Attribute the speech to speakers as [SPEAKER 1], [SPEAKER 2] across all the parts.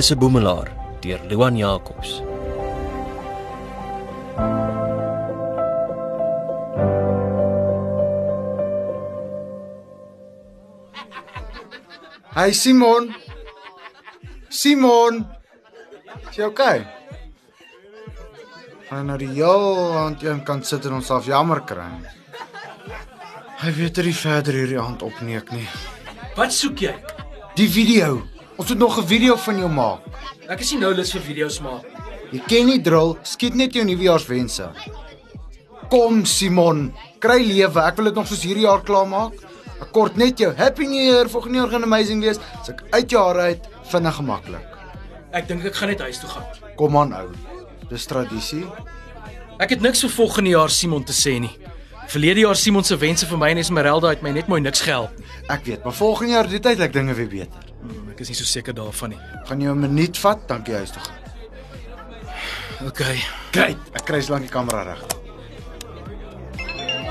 [SPEAKER 1] is 'n boemelaar deur Luan Jacobs.
[SPEAKER 2] Hey Simon. Simon. Is jy okay? Gaan nou die heel aand een kant sit en onsself jammer kry. Hy weet nie verder hierdie aand opneek nie.
[SPEAKER 3] Wat soek jy?
[SPEAKER 2] Die video. Ons moet nog 'n video van jou maak.
[SPEAKER 3] Ek is nie nou lus vir video's maak.
[SPEAKER 2] Jy ken nie drill, skiet net jou nuwejaarswense. Kom Simon, kry lewe. Ek wil dit nog soos hierdie jaar klaar maak. Ek kort net jou happy new year. Volgende jaar gaan amazing wees. As ek uit jou hare uit vinnig gemaklik.
[SPEAKER 3] Ek dink ek gaan net huis toe gaan.
[SPEAKER 2] Kom aan ou. Dis tradisie.
[SPEAKER 3] Ek het niks vir volgende jaar Simon te sê nie. Verlede jaar Simon se wense vir my en Esmeralda het my net mooi niks gehelp.
[SPEAKER 2] Ek weet, maar volgende jaar die tyd lyk dinge weer beter.
[SPEAKER 3] Hmm, Ek is nie so seker daarvan nie.
[SPEAKER 2] Gaan jy 'n minuut vat, dan kan jy huis toe gaan.
[SPEAKER 3] OK.
[SPEAKER 2] Great. Ek kry slank die kamera reg.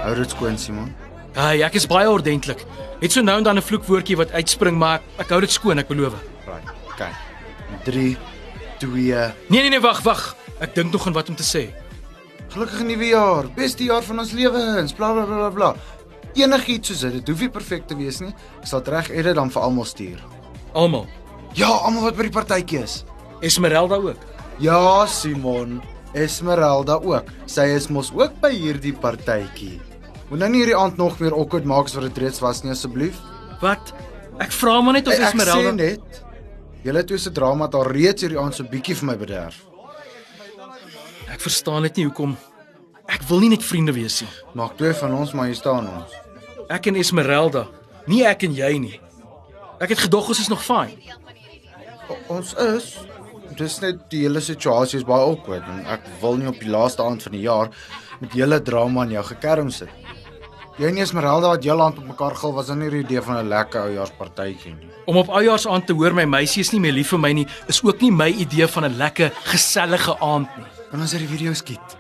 [SPEAKER 2] Hou dit skoon Simon.
[SPEAKER 3] Hey, ek is baie ordentlik. Het so nou en dan 'n vloekwoordjie wat uitspring, maar ek- ek hou dit skoon, ek beloof.
[SPEAKER 2] Right. Okay. 3 2
[SPEAKER 3] Nee nee nee, wag, wag. Ek dink nog aan wat om te sê.
[SPEAKER 2] Gelukkige nuwe jaar. Beste jaar van ons lewens. Bla bla bla bla bla. Enigiets soos dit, dit hoef nie perfek te wees nie. Ek sal dit reg edit dan vir almal stuur.
[SPEAKER 3] Almal.
[SPEAKER 2] Ja, almal wat by die partytjie is.
[SPEAKER 3] Esmeralda ook.
[SPEAKER 2] Ja, Simon. Esmeralda ook. Sy is mos ook by hierdie partytjie. Moet nou nie hierdie aand nog meer awkward maak soos wat dit reeds was nie asseblief.
[SPEAKER 3] Wat? Ek vra maar net of
[SPEAKER 2] Ek sê
[SPEAKER 3] Esmeralda
[SPEAKER 2] net, julle twee se drama het al reeds hierdie aand so bietjie vir my bederf.
[SPEAKER 3] Ek verstaan dit nie hoekom. Ek wil nie net vriende wees nie.
[SPEAKER 2] Maak twee van ons maar hier staan ons.
[SPEAKER 3] Ek en Esmeralda, nie ek en jy nie. Ek het gedog ons is nog fyn.
[SPEAKER 2] O, ons is dis net die hele situasie is baie awkward en ek wil nie op die laaste aand van die jaar met hele drama in jou gekerm sit. Jy en Esmeralda wat heel aand op mekaar gil was dan nie die idee van 'n lekker oujaarspartytjie nie.
[SPEAKER 3] Om op oujaars aan te hoor my meisie is nie meer lief vir my nie, is ook nie my idee van 'n lekker, gesellige aand nie.
[SPEAKER 2] Kan ons hierdie video skiet?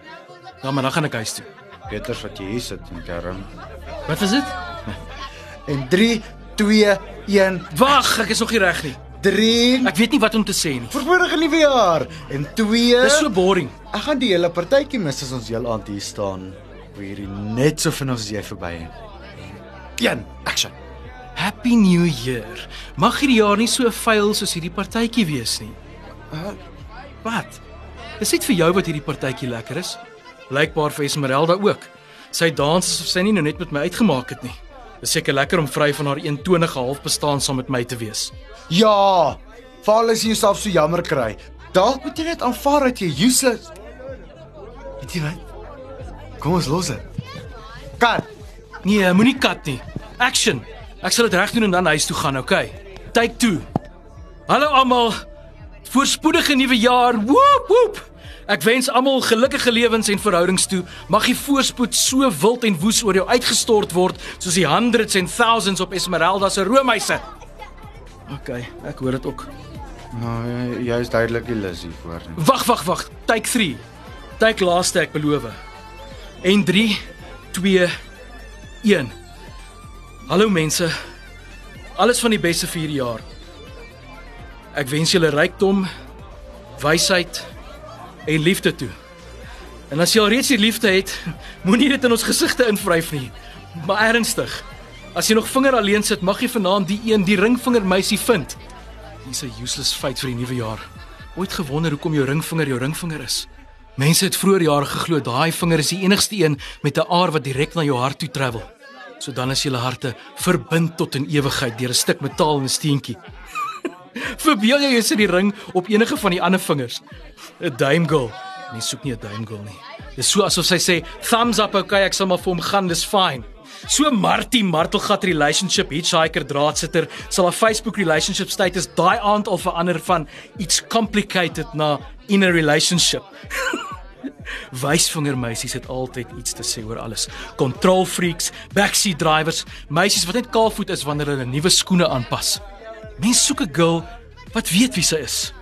[SPEAKER 3] Ja, maar dan gaan ek huis toe.
[SPEAKER 2] Beter as wat jy hier sit en kerm.
[SPEAKER 3] Wat is dit?
[SPEAKER 2] En 3 2 1
[SPEAKER 3] Wag, ek is nog nie reg nie.
[SPEAKER 2] 3
[SPEAKER 3] Ek weet nie wat om te sê nie.
[SPEAKER 2] Voorspoedige nuwe jaar en 2
[SPEAKER 3] Dis so boring.
[SPEAKER 2] Ek gaan die hele partytjie mis as ons heel aand hier staan. Hoe hierdie net so vinnig as jy verby is. 1 action.
[SPEAKER 3] Happy New Year. Mag hierdie jaar nie so vuil soos hierdie partytjie wees nie. Wat? Dis net vir jou wat hierdie partytjie lekker is. Blykbaar vir Esmeralda ook. Sy dans asof sy nie nou net met my uitgemaak het nie. Dis seker lekker om vry van haar 120 half bestaan saam met my te wees.
[SPEAKER 2] Ja. Val as jy jouself so jammer kry. Dalk moet jy net aanvaar dat jy useless. Weet jy wat? Kom ons los dit. Kat,
[SPEAKER 3] Nee, moenie kat nie. Action. Ek sal dit reg doen en dan huis toe gaan, okay? Take 2. Hallo almal. Voorspoedige nuwe jaar. Woep woep. Ek wens almal gelukkige lewens en verhoudings toe. Mag die voorspoed so wild en woes oor jou uitgestort word soos die hundreds en thousands op Esmeralda se roomhuise. Okay, ek hoor dit ook.
[SPEAKER 2] nou jy- jy is duidelik die lus hier voor. nie.
[SPEAKER 3] Wag, wag, wag. Take 3. Take laaste, ek beloof. En 3 2 1. Hallo mense. Alles van die beste vir hierdie jaar. Ek wens julle rykdom, wysheid en liefde toe. En as jy al reeds die liefde het, moenie dit in ons gesigte invryf nie. Maar ernstig, as jy nog vinger alleen sit, mag jy vanaand die een, die ringvinger meisie vind. Dis 'n useless feit vir die nuwe jaar. Ooit gewonder hoekom jou ringvinger jou ringvinger is. Mense het vroeër jare geglo daai vinger is die enigste een met 'n aar wat direk na jou hart toe travel. So dan is julle harte verbind tot in ewigheid deur 'n stuk metaal en 'n steentjie. Verbeel jou jy sit die ring op enige van die ander vingers. 'n Dime girl. Mens soek nie 'n dime girl nie. Dis so asof sy sê thumbs up okay, ek sal maar vir hom gaan, dis fyn. So Martie Martelgat relationship hitchhiker draadsitter sal haar Facebook relationship status daai aand al verander van iets complicated na in a relationship. Wysvinger meisies het altyd iets te sê oor alles. Control freaks, backseat drivers, meisies wat net kaalvoet is wanneer hulle nuwe skoene aanpas. Mens soek 'n girl wat weet wie sy is.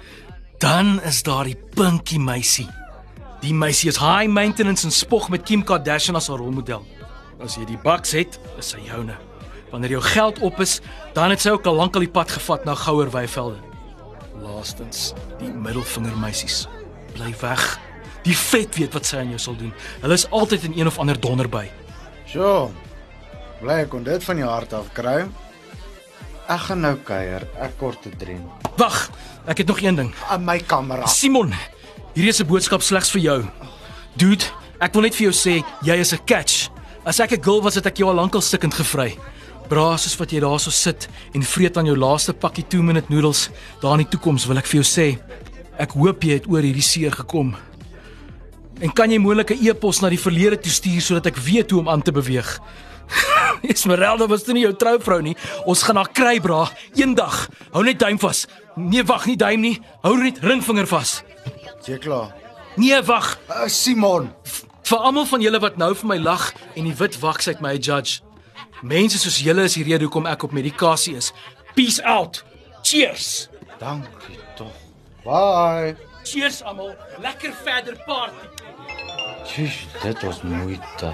[SPEAKER 3] Dan is daar die pinkie meisie. Die meisie is high maintenance en spog met Kim Kardashian as haar rolmodel. As jy die bucks het, is sy joune. Wanneer jou geld op is, dan het sy ook al lank al die pad gevat na Gouer Weivelde. Laastens, die middelvingermeisies. Bly weg. Die vet weet wat sy aan jou sal doen. Hulle is altyd in een of ander donder by.
[SPEAKER 2] So. Bly ek kon dit van jou hart af kry. Ek gaan nou kuier. Ek kort te dren.
[SPEAKER 3] Wag, ek het nog een ding.
[SPEAKER 2] Aan my kamera.
[SPEAKER 3] Simon, hierdie is 'n boodskap slegs vir jou. Dude, ek wil net vir jou sê jy is 'n catch. As ek 'n girl was, het ek jou al lankal stikkend gevry. Bra, soos wat jy daarso sit en vreet aan jou laaste pakkie 2-minute noedels, daar in die toekoms wil ek vir jou sê, ek hoop jy het oor hierdie seer gekom. En kan jy moontlike e-pos na die verlede toe stuur sodat ek weet hoe om aan te beweeg? Esmeralda was toe nie jou trouvrou nie. Ons gaan haar kry, bra, eendag. Hou net duim vas. Nee, wag, nie duim nie. Hou net ringvinger vas.
[SPEAKER 2] Jy klaar.
[SPEAKER 3] Nee, wag.
[SPEAKER 2] Uh, Simon.
[SPEAKER 3] Vir almal van julle wat nou vir my lag en die wit waks uit my judge. Mense soos julle is die rede hoekom ek op medikasie is. Peace out. Cheers.
[SPEAKER 2] Dankie tog. Bye.
[SPEAKER 3] Cheers almal. Lekker verder party.
[SPEAKER 2] Sjoe, dit was moeite.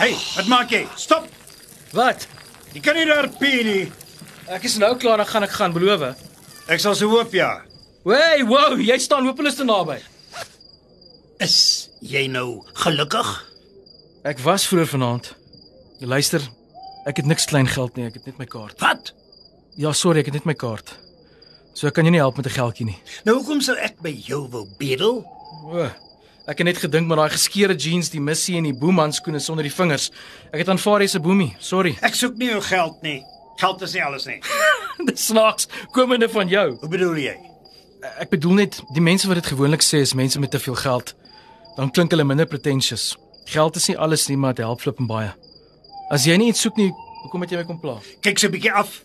[SPEAKER 4] Hey, wat maak jy? Stop.
[SPEAKER 3] Wat?
[SPEAKER 4] Jy kan nie daar pee nie.
[SPEAKER 3] Ek is nou klaar, dan gaan ek gaan, beloof.
[SPEAKER 4] Ek sal se hoop ja.
[SPEAKER 3] Hey, wow, jy staan hopeloos te naby.
[SPEAKER 5] Is jy nou gelukkig?
[SPEAKER 3] Ek was vroeër vanaand. Luister, ek het niks klein geld nie, ek het net my kaart.
[SPEAKER 5] Wat?
[SPEAKER 3] Ja, sorry, ek het net my kaart. So ek kan jou nie help met 'n geldjie nie.
[SPEAKER 5] Nou hoekom sou ek by jou wou bedel?
[SPEAKER 3] O. Ek het net gedink met daai geskeurde jeans, die missie en die boemanskoene sonder die vingers. Ek het aanvaar jy's 'n boemie. Sorry.
[SPEAKER 4] Ek soek nie jou geld nie. Geld is nie alles nie.
[SPEAKER 3] Dis snaaks komende van jou.
[SPEAKER 4] Hoe bedoel jy?
[SPEAKER 3] Ek bedoel net die mense wat dit gewoonlik sê is mense met te veel geld. Dan klink hulle minder pretentious. Geld is nie alles nie, maar dit help flippend baie. As jy nie iets soek nie, hoekom het jy my kom pla?
[SPEAKER 4] Kyk so 'n bietjie af.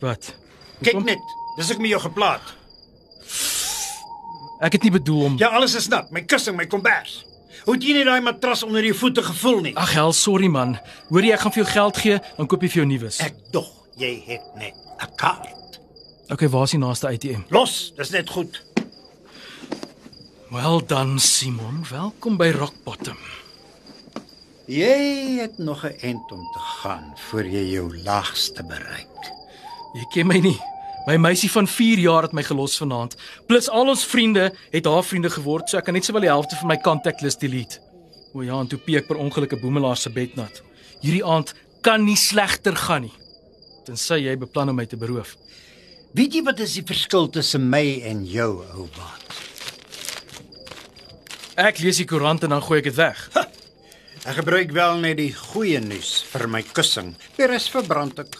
[SPEAKER 3] Wat?
[SPEAKER 4] Kyk
[SPEAKER 3] Hoekom?
[SPEAKER 4] net. Dis ek met jou geplaat.
[SPEAKER 3] Ek het nie bedoel om
[SPEAKER 4] Ja, alles is nat. My kussing, my kombers. Hoe het jy nie daai matras onder jou voete gevoel nie?
[SPEAKER 5] Ah,
[SPEAKER 3] Ag hel, sorry man. Hoor jy ek gaan vir jou geld gee, dan koop jy vir jou nuus.
[SPEAKER 5] Ek dog jy het net 'n kaart.
[SPEAKER 3] Okay, waar is die naaste ATM?
[SPEAKER 4] Los, dis net goed.
[SPEAKER 3] Wel dan Simon, welkom by Rock Bottom.
[SPEAKER 5] Jy het nog 'n end om te gaan voor jy jou laagste bereik.
[SPEAKER 3] Jy ken my nie. My meisie van 4 jaar het my gelos vanaand. Plus al ons vriende het haar vriende geword, so ek kan net sowel die helfte van my contact list delete. O ja, en toe peek per ongeluk 'n boemelaar se bed nat. Hierdie aand kan nie slegter gaan nie. Tensy jy beplan om my te beroof.
[SPEAKER 5] Weet jy wat is die verskil tussen my en jou, ou baat?
[SPEAKER 3] Ek lees die koerant en dan gooi ek dit weg.
[SPEAKER 5] Ek gebruik wel net die goeie nuus vir my kussing. Die res verbrand ek.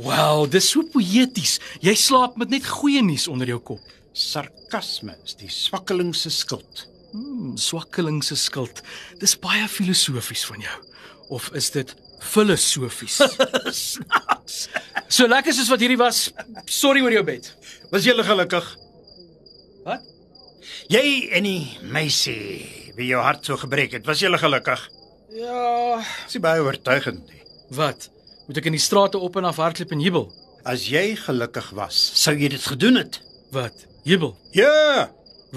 [SPEAKER 3] Wow, dis so poëties. Jy slaap met net goeie nuus onder jou kop.
[SPEAKER 5] Sarkasme is die swakkeling se skuld.
[SPEAKER 3] Hmm, swakkeling se skild. Dis baie filosofies van jou. Of is dit filosofies?
[SPEAKER 5] Snaaks.
[SPEAKER 3] So lekker soos wat hierdie was. Sorry oor jou bed.
[SPEAKER 4] Was jy gelukkig?
[SPEAKER 3] Wat?
[SPEAKER 4] Jy en die
[SPEAKER 5] Meisie,
[SPEAKER 4] wie jou hart so gebreek het, was jy gelukkig?
[SPEAKER 3] Ja.
[SPEAKER 5] Dis nie baie oortuigend nie.
[SPEAKER 3] Wat? Moet ek in die strate op en af hardloop en jubel?
[SPEAKER 5] As jy gelukkig was, sou jy dit gedoen het.
[SPEAKER 3] Wat? Jubel.
[SPEAKER 4] Ja.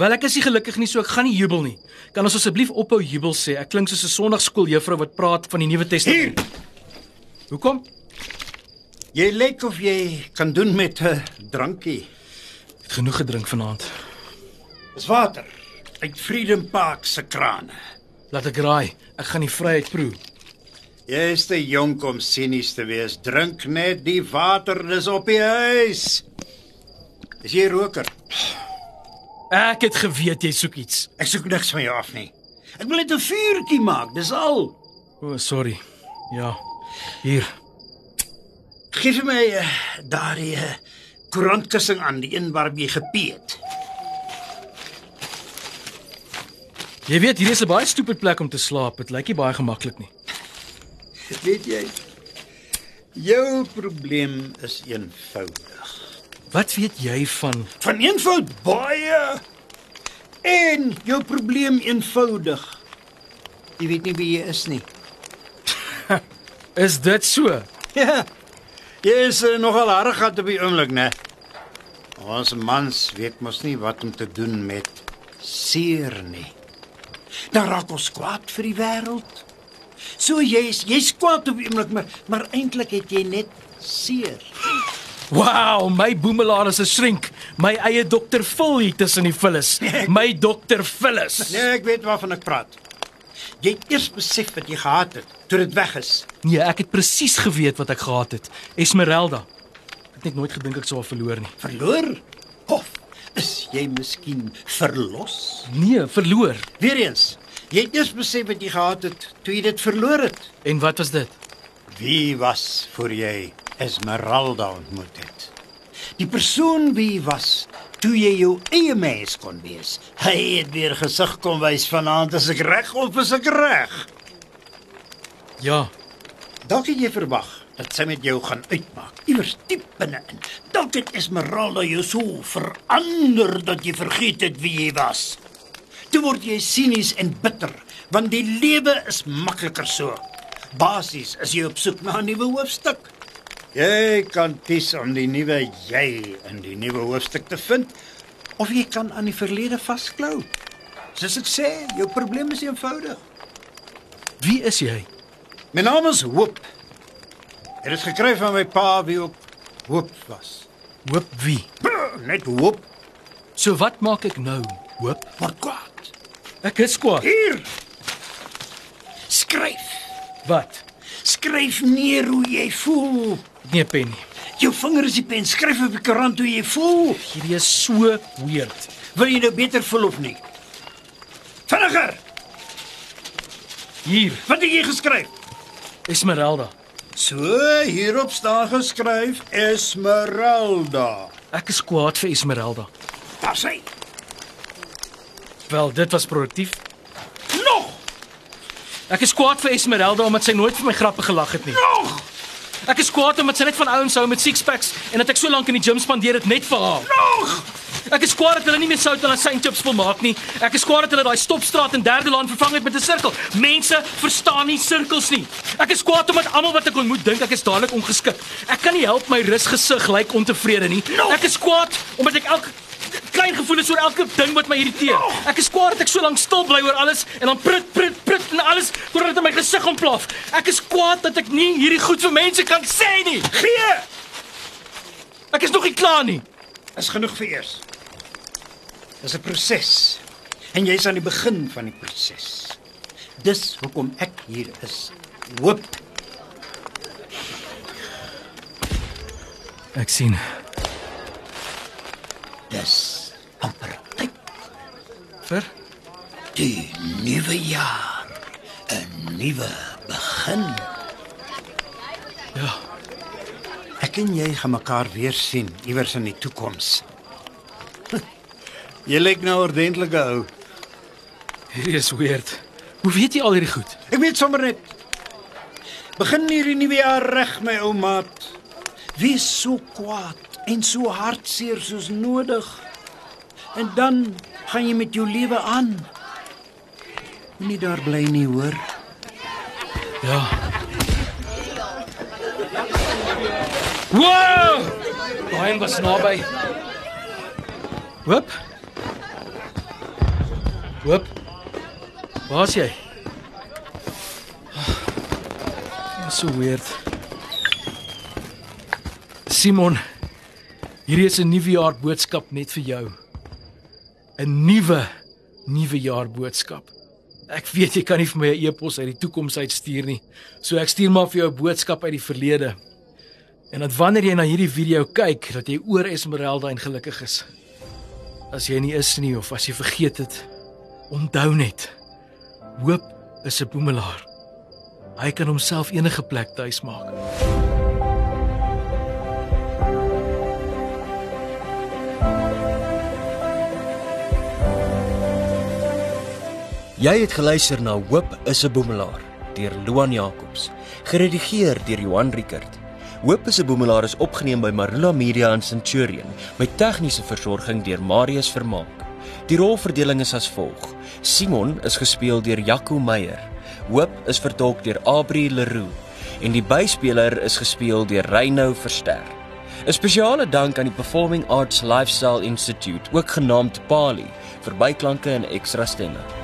[SPEAKER 3] Wel ek is nie gelukkig nie, so ek gaan nie jubel nie. Kan ons asseblief ophou jubel sê? Ek klink soos 'n Sondagskooljuffrou wat praat van die Nuwe
[SPEAKER 4] Hier.
[SPEAKER 3] Testament. Hoekom?
[SPEAKER 5] Jy lyk of jy kan doen met 'n drankie.
[SPEAKER 3] Ek het genoeg gedrink vanaand.
[SPEAKER 4] Dis water.
[SPEAKER 5] Uit Freedom Park se krane.
[SPEAKER 3] Laat ek raai. Ek gaan die vryheid proe.
[SPEAKER 5] Jy is te jonk om sinies te wees. Drink net die water dis op die huis. Is jy roker?
[SPEAKER 3] Ek het geweet jy soek iets.
[SPEAKER 5] Ek soek niks van jou af nie. Ek wil net 'n vuurtjie maak, dis al.
[SPEAKER 3] O, oh, sorry. Ja. Hier.
[SPEAKER 5] Geef vir my eh, daardie eh, koerantkussing aan, die een waarop jy gepee het.
[SPEAKER 3] Jy weet, hier is 'n baie stupid plek om te slaap. Dit lyk nie baie gemaklik nie.
[SPEAKER 5] Weet jy? Jou probleem is eenvoudig.
[SPEAKER 3] Wat weet jy van
[SPEAKER 5] Van eenvoud baie en jou probleem eenvoudig. Jy weet nie wie jy is nie.
[SPEAKER 3] Is dit so?
[SPEAKER 4] eh,
[SPEAKER 5] Ja. Jy is uh, nogal hardig gehad op die oomblik, né? Ons mans weet mos nie wat om te doen met seer nie.
[SPEAKER 4] Dan Nou raak ons kwaad vir die wêreld. So jy's jy's kwaad op iemand, maar maar eintlik het jy net seer.
[SPEAKER 3] Wow, my boemelaar is 'n shrink. My eie dokter Phil hier tussen die vullis. My dokter Phyllis.
[SPEAKER 5] Nee, ek weet waarvan ek praat.
[SPEAKER 4] Jy het eers besef wat jy gehad het toe dit weg is.
[SPEAKER 3] Nee, ek het presies geweet wat ek gehad het. Esmeralda. Ek het net nooit gedink ek sou haar verloor nie.
[SPEAKER 4] Verloor? Of is jy miskien verlos?
[SPEAKER 3] Nee, verloor.
[SPEAKER 4] Weereens, jy het eers besef wat jy gehad het toe jy dit verloor het.
[SPEAKER 3] En wat was dit?
[SPEAKER 5] Wie was voor jy Esmeralda ontmoet het?
[SPEAKER 4] Die persoon wie jy was toe jy jou eie mens kon wees.
[SPEAKER 5] Hy het weer gesig kom wys vanaand as ek reg of is ek reg?
[SPEAKER 3] Ja,
[SPEAKER 5] Dalk het jy verwag dat sy met jou gaan uitmaak.
[SPEAKER 4] Iewers diep binne-in. Dalk het Esmeralda jou so verander dat jy vergeet het wie jy was. Toe word jy sinies en bitter, want die lewe is makliker so. Basies is jy op soek na 'n nuwe hoofstuk.
[SPEAKER 5] Jy kan kies om die nuwe jy in die nuwe hoofstuk te vind of jy kan aan die verlede vasklou.
[SPEAKER 4] Soos ek sê, jou probleem is eenvoudig.
[SPEAKER 3] wie is jy?
[SPEAKER 5] My naam is Hoop. Dit is gekry van my pa wie ook Hoop was.
[SPEAKER 3] Hoop wie?
[SPEAKER 5] Net Hoop
[SPEAKER 3] So wat maak ek nou? Hoop?
[SPEAKER 4] Word kwaad.
[SPEAKER 3] Ek is kwaad.
[SPEAKER 4] Hier. Skryf.
[SPEAKER 3] Wat?
[SPEAKER 4] Skryf neer hoe jy voel.
[SPEAKER 3] Ek het nie 'n pen nie.
[SPEAKER 4] Jou vinger is die pen. Skryf op die koerant hoe jy voel.
[SPEAKER 3] Hierdie is so weird.
[SPEAKER 4] Wil jy nou beter voel of nie? Vinniger,
[SPEAKER 3] Hier,
[SPEAKER 4] wat het jy geskryf?
[SPEAKER 3] Esmeralda.
[SPEAKER 5] So hierop staan geskryf Esmeralda.
[SPEAKER 3] Ek is kwaad vir Esmeralda.
[SPEAKER 4] Daar sê
[SPEAKER 3] Wel, dit was produktief.
[SPEAKER 4] nog,
[SPEAKER 3] Ek is kwaad vir Esmeralda omdat sy nooit vir my grappe gelag het nie.
[SPEAKER 4] nog,
[SPEAKER 3] Ek is kwaad omdat sy net van ouens hou met sixpacks en dat ek so lank in die gym spandeer het net vir haar.
[SPEAKER 4] nog.
[SPEAKER 3] Ek is kwaad dat hulle nie meer sout aan sy chips wil maak nie. Ek is kwaad dat hulle daai stopstraat in derde laan vervang het met 'n sirkel. Mense verstaan nie sirkels nie. Ek is kwaad omdat almal wat ek ontmoet dink ek is dadelik ongeskik. Ek kan nie help my rus gesig lyk like ontevrede nie. Ek is kwaad omdat ek elke klein gevoel is oor elke ding wat my irriteer. Ek is kwaad dat ek so lank stil bly oor alles en dan prut prut prut en alles totdat dit in my gesig ontplof. Ek is kwaad dat ek nie hierdie goed vir mense kan sê nie.
[SPEAKER 5] Gee
[SPEAKER 3] Ek is nog nie klaar nie.
[SPEAKER 5] is genoeg vir eers. Dis 'n proses en jy's aan die begin van die proses. Dis hoekom ek hier is. Hoop
[SPEAKER 3] Ek sien.
[SPEAKER 4] Dis amper tyd
[SPEAKER 3] Vir
[SPEAKER 4] die nuwe jaar, 'n nuwe begin.
[SPEAKER 5] Ja. ek en jy gaan mekaar weer sien iewers in die toekoms. Hm. jy lyk nou ordentlike ou.
[SPEAKER 3] Hierdie is weird. Hoe weet jy al hierdie goed?
[SPEAKER 5] Ek weet sommer net. Begin hierdie nuwe jaar reg my ou maat.
[SPEAKER 4] Wees so kwaad en so hartseer soos nodig. En dan gaan jy met jou lewe aan.
[SPEAKER 5] Moenie daar bly nie, hoor.
[SPEAKER 3] Ja. Wow! Daai een was naby. Hoop. Hoop. Waar's jy? Dis so weird. Simon, hierdie is 'n nuwejaar boodskap net vir jou. 'n Nuwe nuwe jaar boodskap. Ek weet jy kan nie vir my 'n e-pos uit die toekoms uitstuur nie. So ek stuur maar vir jou 'n boodskap uit die verlede. En dat wanneer jy na hierdie video kyk, dat jy oor Esmeralda en gelukkig is. As jy nie is nie of as jy vergeet het, onthou net. Hoop is 'n boemelaar. Hy kan homself enige plek tuis maak.
[SPEAKER 1] Jy het geluister na Hoop is 'n boemelaar deur Loan Jacobs, geredigeer deur Johan Rickert. Hoop is 'n boemelaar is opgeneem by Marula Media in Centurion met tegniese versorging deur Marius Vermaak. Die rolverdeling is as volg: Simon is gespeel deur Jaco Meyer, Hoop is vertolk deur Abri Leroux en die byspeler is gespeel deur Reynou Verster. 'n Spesiale dank aan die Performing Arts Lifestyle Institute, ook genaamd PALI, vir byklanke en ekstra stemme.